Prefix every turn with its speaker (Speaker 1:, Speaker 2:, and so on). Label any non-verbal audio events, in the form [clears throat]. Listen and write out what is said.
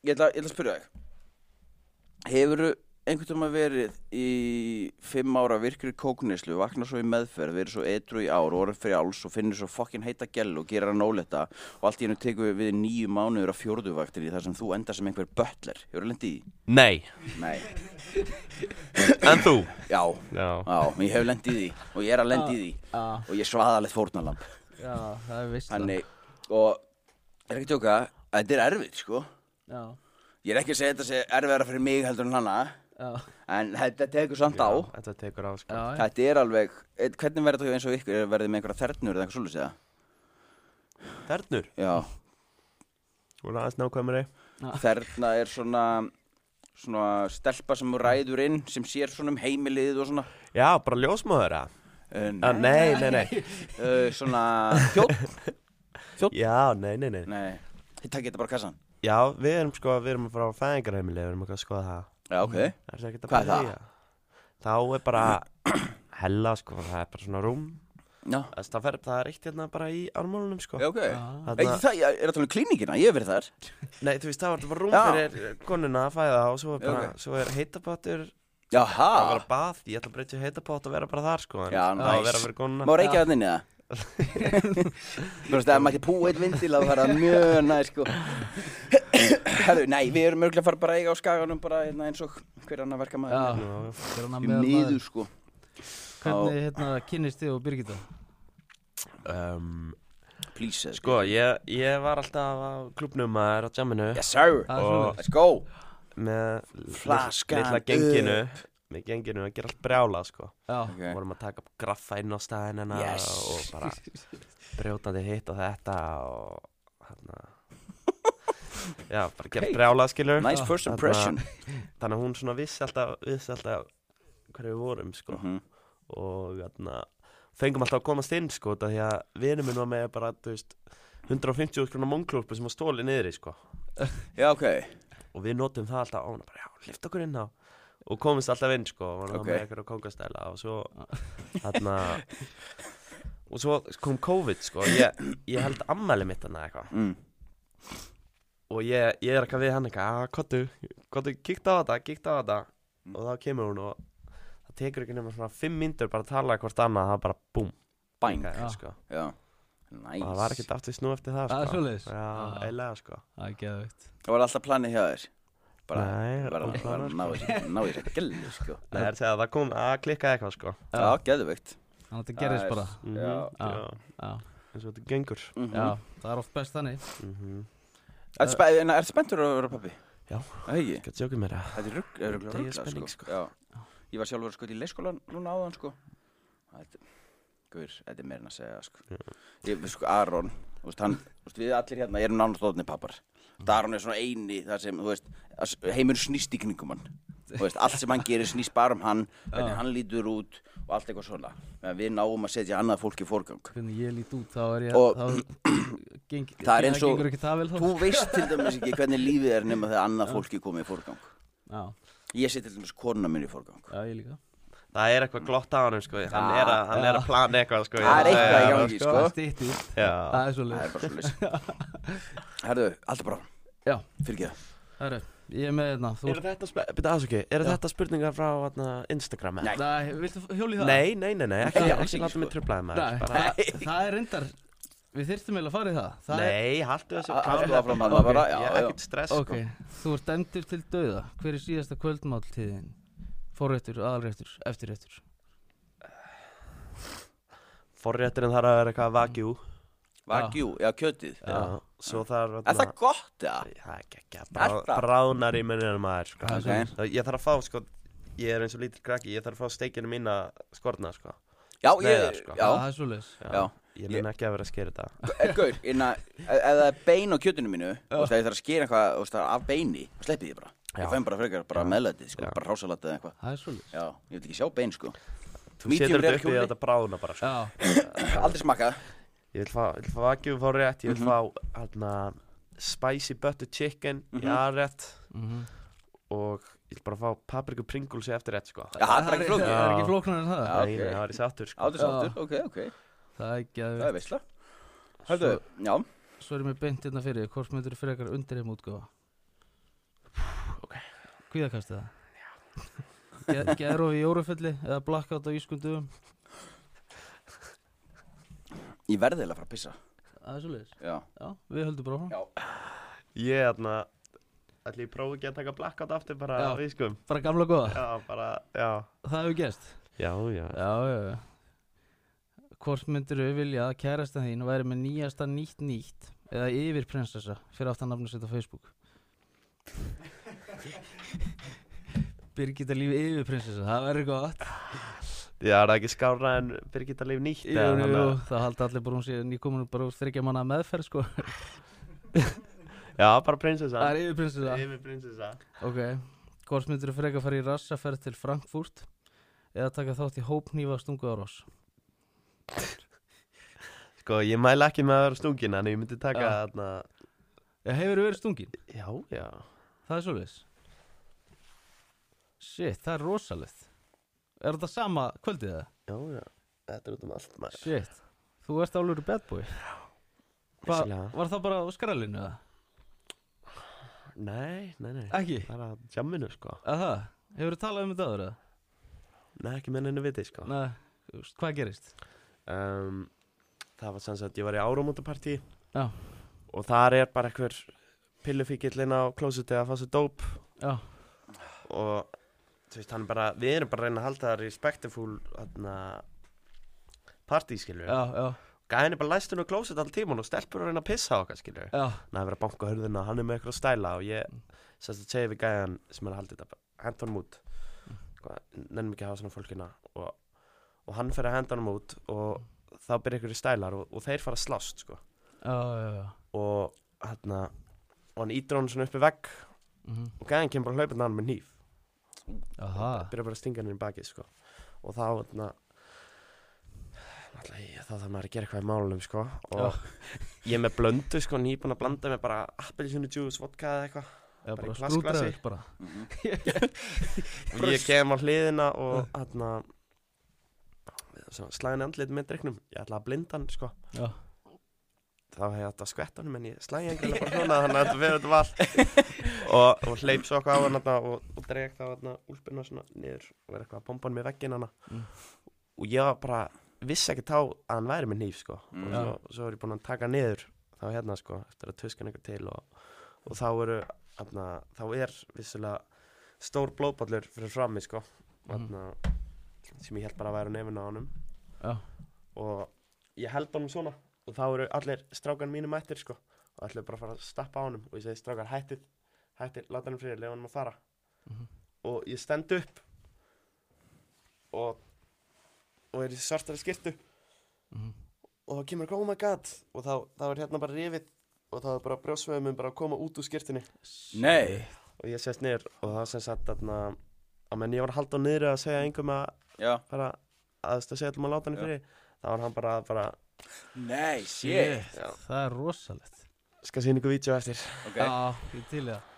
Speaker 1: ég ætla, ég ætla að spyrja þig Hefur einhvern tíma verið í fimm ára virkri kóknislu, vaknar svo í meðferð, verið svo etru í ár og orðið frjáls og finnir svo fokkin heita gell og gerir hann óletta og allt í hennu tekur við nýju mánuður af fjórðuvaktinni þar sem þú endar sem einhver bötler. Hefur það lendið í?
Speaker 2: Nei,
Speaker 1: því? Nei.
Speaker 2: en þú?
Speaker 1: Já.
Speaker 2: Já,
Speaker 1: Já, ég hef lendið í því og ég er að lenda í því
Speaker 3: Já,
Speaker 1: og ég er svaðalegt fórnalamb.
Speaker 3: já, það er vist
Speaker 1: Þannig, og ég er ekki að tjóka, þetta er erfitt, sko.
Speaker 3: Já,
Speaker 1: Ég er ekki að segja þetta sé erfiðara fyrir mig heldur en hana,
Speaker 3: já,
Speaker 1: en þetta tekur samt á.
Speaker 2: Já, Þetta tekur á sko
Speaker 3: já,
Speaker 1: Þetta er alveg, eh, hvernig verður þetta hjá eins og ykkur, verður þið með einhverja þernur eða eitthvað svolítið eða?
Speaker 2: Þernur,
Speaker 1: Já,
Speaker 2: þú er aðeins nákvæmari
Speaker 1: þerna er svona, svona stelpa sem ræður inn, sem sér svona um heimilið og svona
Speaker 2: Já, bara ljósmaður að
Speaker 1: uh,
Speaker 2: Ah,
Speaker 1: Nei,
Speaker 2: Nei, nei, nei
Speaker 1: uh, svona þjótt,
Speaker 2: Já, nei, nei, nei
Speaker 1: nei, þið takkir þetta bara á kassan
Speaker 2: Já, við erum sko, við erum að fara á fæðingarheimili Við erum eitthvað að skoða það
Speaker 1: Já, ok,
Speaker 2: Það er ekkert að
Speaker 1: Hvað er
Speaker 2: pæla
Speaker 1: það?
Speaker 2: í Þá er bara hella sko, það er bara svona rúm
Speaker 1: já,
Speaker 2: Þess, Það, fer, það er eitt hérna bara í ármálunum sko
Speaker 1: já, ok
Speaker 3: já.
Speaker 1: Ei, það, ég er að tala um klíningina, ég hef verið þar
Speaker 2: Nei, þú veist, það var þetta bara rúm
Speaker 1: Já.
Speaker 2: fyrir konuna að fæða og svo er, bara,
Speaker 1: ok.
Speaker 2: svo er heitapottur
Speaker 1: Jaha,
Speaker 2: Það var bað, ég ætla að breyta í heitapott og vera bara þar sko en
Speaker 1: Já,
Speaker 2: Það var
Speaker 1: nice.
Speaker 2: að vera fyrir konuna
Speaker 1: má reykja það inn í það [laughs] Þú veist, ef maður ekki púið eitt vindil að fara mjög næ, sko Herðu, nei, við erum örgulega að fara bara að eiga á skaganum bara hérna, eins og hver annar verka maður
Speaker 3: Já,
Speaker 2: Já,
Speaker 3: þetta er hann að
Speaker 1: Því
Speaker 3: meðal
Speaker 1: miður
Speaker 3: maður.
Speaker 1: sko
Speaker 3: Hvernig hérna kynnist þið og Birgitta?
Speaker 2: um,
Speaker 1: Please sko.
Speaker 2: Sko, ég, ég var alltaf á klubnum maður á jamminu
Speaker 1: Yes sir
Speaker 3: Það er
Speaker 2: Og-
Speaker 3: svona
Speaker 1: Let's go
Speaker 2: með lill-
Speaker 1: Flaskan
Speaker 2: litla genginu með genginu að gera allt brjála sko
Speaker 3: Já,
Speaker 1: okay.
Speaker 2: vorum að taka graffa inn á staðin hennar
Speaker 1: Eh. Yes.
Speaker 2: og bara brjótandi hitt og þetta og hérna
Speaker 1: [laughs]
Speaker 2: já, bara
Speaker 1: Ok.
Speaker 2: gera allt brjála skilur
Speaker 1: Nice first
Speaker 2: Þarna-
Speaker 1: impression
Speaker 2: þannig að hún svona vissi alltaf, vissi alltaf hverju við vorum sko
Speaker 1: Mhm.
Speaker 2: og hérna fengum alltaf að komast inn sko út af því að vinur minn var með bara þú veist 150 skrónar mongklúrpu sem var stóli niðri sko
Speaker 1: Já ok
Speaker 2: og við notum það alltaf og hún bara, já, lift okkur inn á og komist alltaf inn, sko, og hann
Speaker 1: Ok. Ah.
Speaker 2: okay. með eitthvað kongastæla og svo, þarna og svo kom COVID, sko ég, ég held ammæli mitt hann eitthvað
Speaker 1: mm.
Speaker 2: og ég, ég er eitthvað "Ah, við hann eitthvað, að, kottu kottu, kíkt á þetta, kíkt á þetta
Speaker 1: Mm.
Speaker 2: og þá kemur hún og það tekur ekki nema svona fimm myndur bara að tala hvort annað, það bara búm
Speaker 1: Bang
Speaker 2: líkaði,
Speaker 3: Já.
Speaker 2: sko.
Speaker 1: Já Nice
Speaker 2: og það var ekkert aftur snú eftir það,
Speaker 3: Það er
Speaker 2: sko
Speaker 3: svoleiðis?
Speaker 2: já,
Speaker 1: Ah.
Speaker 3: Já.
Speaker 2: eiginlega, sko
Speaker 3: það er geðveikt
Speaker 1: Það var alltaf planið hjá þér Bara
Speaker 2: Nei,
Speaker 1: Bara
Speaker 2: alveg
Speaker 1: bara
Speaker 2: planað,
Speaker 1: ná þessu- ná þessu gælu sko
Speaker 2: það er að segja að það kom að klikka eitthvað, sko
Speaker 1: Já geðveikt
Speaker 3: Þannig að þetta gerist
Speaker 1: Það er-
Speaker 3: bara
Speaker 2: Mhm,
Speaker 1: Já.
Speaker 3: Já.
Speaker 2: já.
Speaker 3: Já,
Speaker 2: eins og þetta gengur
Speaker 1: Mhm.
Speaker 3: já, það er oft best þannig
Speaker 2: Mhm.
Speaker 1: Ertu spe- en ertu spenntur að vera pappi?
Speaker 2: Já.
Speaker 1: Það ekki
Speaker 2: Ekki að tjóka mér að
Speaker 1: Þetta er rugg, er rugg,
Speaker 2: Það er
Speaker 1: rugg,
Speaker 2: spenning,
Speaker 1: sko. Já. Ég var sjálfur sko í leikskólan núna áðan sko. Þetta, guður, þetta er meira en að segja sko. Ég, við, sko, Aron, þú veist, hann, þú veist, við allir hérna erum nánast orðnir pappar. Mm. Aron er svona eini þar sem, þú veist, að s- heimur snýst í kringum hann. Þú veist, allt sem hann gerir snýst bara um hann, hvernig hann lítur út og allt eitthvað svona. Meðan við náum að setja annað fólk í forgang.
Speaker 3: Hvernig ég lít út, þá er ég
Speaker 1: Og-
Speaker 3: þá, geng,
Speaker 1: [clears throat] Það er eins og-
Speaker 3: gengur ekki það vel þá
Speaker 1: Þú veist til dæmis ekki hvernig lífið er nema þegar annað fólk er komið í forgang.
Speaker 3: Já,
Speaker 1: Ég setja til dæmis konuna minni í forgang.
Speaker 3: já, ég líka
Speaker 2: Það er eitthvað glott á hann sko Hann er að, hann
Speaker 3: Já.
Speaker 2: er að plana eitthvað sko
Speaker 1: Ah, Það er
Speaker 2: Ég-
Speaker 1: eitthvað í
Speaker 2: Já,
Speaker 1: gangi, sko.
Speaker 3: Það er stýttir,
Speaker 2: Já
Speaker 3: það er svo
Speaker 1: Það er bara svolítið Herðu, alltaf bara
Speaker 3: Já.
Speaker 1: Fyrir ekki
Speaker 3: Herru, ég er með hérna, þú
Speaker 2: Eru þetta, spe- byrja aðsöki, eru
Speaker 3: Já.
Speaker 2: þetta spurningar frá atna, Instagram?
Speaker 1: Nei.
Speaker 3: Nei, viltu hjóli það?
Speaker 2: Nei, nei, nei, nei, ekki,
Speaker 1: Nei,
Speaker 2: ekki,
Speaker 1: alls
Speaker 2: ekki
Speaker 1: ekki,
Speaker 2: láta mig
Speaker 1: sko.
Speaker 2: trublaði maður
Speaker 3: Nei,
Speaker 2: bara,
Speaker 3: það- það er reyndar Við þyrftum eiginlega að fara í það, það er,
Speaker 2: Nei, haltu þessu
Speaker 1: það Haldu
Speaker 2: klára
Speaker 1: Ah, áfram
Speaker 2: þetta.
Speaker 1: að bara
Speaker 2: Ég
Speaker 1: Já,
Speaker 2: er
Speaker 1: já
Speaker 2: ekkert stress
Speaker 3: Ok,
Speaker 2: sko
Speaker 3: þú ert dæmdur til dauða Hver er síðasta kvöldmáltíðin? Forréttur, aðalréttur, eftirréttur
Speaker 2: Forrétturinn þarf að vera eitthvað vagjú
Speaker 1: Vagjú, já, kjötið
Speaker 2: Já, svo þarf
Speaker 1: Er það gott, eða?
Speaker 2: Það er ekki ekki
Speaker 1: Er það?
Speaker 2: Bránar í munninum maður sko
Speaker 3: Það er
Speaker 1: Ok.
Speaker 2: Það- Ég þarf að fá sko Ég er eins og lítill krakki, ég þarf að fá steikinu mína skorna sko
Speaker 1: Já,
Speaker 2: Sneiðar,
Speaker 1: ég,
Speaker 2: sko.
Speaker 1: já
Speaker 3: Það er svoleiðis
Speaker 1: Já.
Speaker 2: Ég nenni ekki að vera að skera þetta
Speaker 1: Eh, Gaur, inna, ef það er bein á kjötinu mínu og það ég þarf að skera eitthvað þú veist, það er af beini þá sleppið ég bara
Speaker 2: Já.
Speaker 1: Ég fæm bara frekar bara meðlætið, sko,
Speaker 2: Já.
Speaker 1: bara rásalatið eða eitthvað
Speaker 3: Það er svoleiðis
Speaker 1: Já, ég vil ekki sjá bein, sko [clears throat]
Speaker 2: Þú
Speaker 1: Medium
Speaker 2: setur
Speaker 1: rare
Speaker 2: þetta upp í
Speaker 1: kjólinn.
Speaker 2: þetta bráðuna bara sko.
Speaker 3: Já,
Speaker 1: Aldrei smakað
Speaker 2: Ég vil fá, vil fá vagjú, fá rétt, ég vil
Speaker 3: Mhm.
Speaker 2: fá hérna, spicy butter chicken, mm já rétt
Speaker 3: mhm.
Speaker 2: og ég vil bara fá papriku pringulsi eftir rétt sko.
Speaker 1: Já, það er ekki flókið
Speaker 3: Það er ekki flóknar en það
Speaker 1: Já.
Speaker 2: Nei,
Speaker 1: ok.
Speaker 2: nei, það var í sattur sko.
Speaker 1: Aldrei sáttur, ok, ok
Speaker 3: Það er ekki
Speaker 1: Það er veistla Hörðu, já
Speaker 3: Svo erum við beint hérna fyrir, hvort myndur frekar undirheim útgáfa? Kvíðakast eða? Já Geðrofi í Jórufelli eða blackout á ískundum
Speaker 1: Ég verði eiginlega að fara að pissa
Speaker 3: Það er svolítið
Speaker 1: Já,
Speaker 3: Já, við höldum bara áfram
Speaker 1: já.
Speaker 2: Ég er þarna Ætli ég prófi ekki að taka blackout aftur bara
Speaker 3: Já.
Speaker 2: á ískum
Speaker 3: Bara gamla góða,
Speaker 2: Já, bara, já
Speaker 3: það hefur gerst
Speaker 2: Já, já
Speaker 3: Já, já, já Hvort myndir við vilja að kærastan þín væri með nýjasta nýtt nýtt eða yfir prinsessa fyrir aftan nafnum sitt á Facebook Birgitta líf yfir prinsessa, það verður gott
Speaker 2: Já, er það ekki skárra en Birgitta Leif nýtt
Speaker 3: Jú,
Speaker 2: eða
Speaker 3: jú,
Speaker 2: þannig að-
Speaker 3: það haldi allir bara hún sé nýkominu bara úr þryggja manna meðferð sko
Speaker 2: Já, bara prinsessa
Speaker 3: Það er yfir prinsessa
Speaker 2: Yfir prinsessa
Speaker 3: Ok, hvort myndir þú frekar fara í rassaferð til Frankfurt eða taka þátt í hópnýfa stungu á ross
Speaker 2: Sko, ég mæla ekki með að vera stungin En ég myndi taka
Speaker 3: Já.
Speaker 2: þarna
Speaker 3: Hefur þú verið stungin?
Speaker 2: Já, já
Speaker 3: Það er svolítið Shit, það er rosalegt Er þetta sama kvöldið það?
Speaker 2: Já, já Þetta er út um allt maður
Speaker 3: Shit, þú ert álur bad boy Hva,
Speaker 2: Vissulega.
Speaker 3: Var það bara á skrælinu eða?
Speaker 2: Nei, nei, nei
Speaker 3: Ekki
Speaker 2: Það er að jamminu, sko
Speaker 3: Aha, hefur þú talað um þetta áður eða?
Speaker 2: Nei, ekki með henni viti, sko
Speaker 3: Nei, þú veist, hvað gerist?
Speaker 2: um, Það var sem sagt, ég var í áramótapartí
Speaker 3: Já,
Speaker 2: Og þar er bara einhver pillufíkill inn á klósetti að fá sér dóp
Speaker 3: já,
Speaker 2: Og, þú veist, hann er bara Við erum bara að reyna að halda það respectful Þarna Partí, skilur
Speaker 3: já, já,
Speaker 2: Gæðin er bara læstur á klósett all tíman Og stelpur er að reyna að pissa á okkar, skilur
Speaker 3: já.
Speaker 2: Nei, verið að banka á hurðina og hann er með eitthvað stæla og ég sérst að segja við gæjan sem er að haldi þetta bara, henda honum út Hvað, nennum ekki að hafa svona fólkina og, og hann fer að henda honum út og þá byrja ykkur í stælar og, og þeir fara að slást sko.
Speaker 3: Já, já, já.
Speaker 2: og hérna og hann ítir honum svona upp í vegg
Speaker 3: Mhm.
Speaker 2: og gæjan kemur bara hlaupin að hann með nýf
Speaker 3: Aha,
Speaker 2: byrja bara að stinga henni í bakið sko. og þá hérna, náttúrulega, ég- þá þarf maður að gera eitthvað í málunum sko. og ég er með blöndu sko, nýbúin að blanda með bara appelsinu juice, vodka eða eitthvað
Speaker 3: já,
Speaker 2: bara í
Speaker 3: bara
Speaker 2: plastglasi.
Speaker 3: skrúdraður bara
Speaker 1: Mhm.
Speaker 2: og ég kem á hliðina og hérna slæðin andlit með driknum ég ætla að blinda hann sko
Speaker 3: Já,
Speaker 2: þá hef ég átt að skvetta hann en ég slæði engilega bara svona þannig að þetta verður þetta vall og, og hleyp svo okkur á hann þarna og, og dreg þá hérna úlpina svona niður og verður eitthvað að bomba hann með veggin hana
Speaker 3: Mm.
Speaker 2: og ég var bara vissi ekki þá að hann væri með nýf sko
Speaker 1: Mm.
Speaker 2: og svo, svo er ég búinn að taka hann niður þá hérna sko eftir að tuskan eitthvað til og, og þá eru hérna, þá er vissulega stór blóðballur fyrir frammi sko
Speaker 3: Mhm.
Speaker 2: hérna, sem ég held bara að væri á nefinu á honum
Speaker 3: já,
Speaker 2: og ég held honum svona og þá eru allir strákan mínum mættir sko og allir bara að fara að stappa á honum og ég segi strákar hættið, hættið, láta hann fyrir lefa hann að fara
Speaker 3: Mhm.
Speaker 2: og ég stend upp og og er í svartari skirtu
Speaker 3: Mhm.
Speaker 2: og þá kemur eitthvað, oh my god og þá, þá er hérna bara rifið og þá er bara brjósveðum minn bara að koma út úr skirtunni
Speaker 1: Nei,
Speaker 2: og ég sest niður og þá sem sagt þarna á menn ég var að halda á niður að segja engum að
Speaker 1: já
Speaker 2: bara að þú veist, að segja allum að láta hann
Speaker 1: Já.
Speaker 2: fyrir þá var hann bara, bara
Speaker 1: Nei, shit
Speaker 2: Já.
Speaker 3: það er rosalegt
Speaker 2: skal sína ykkur vídeo eftir
Speaker 1: Ok,
Speaker 3: Já, ég til í það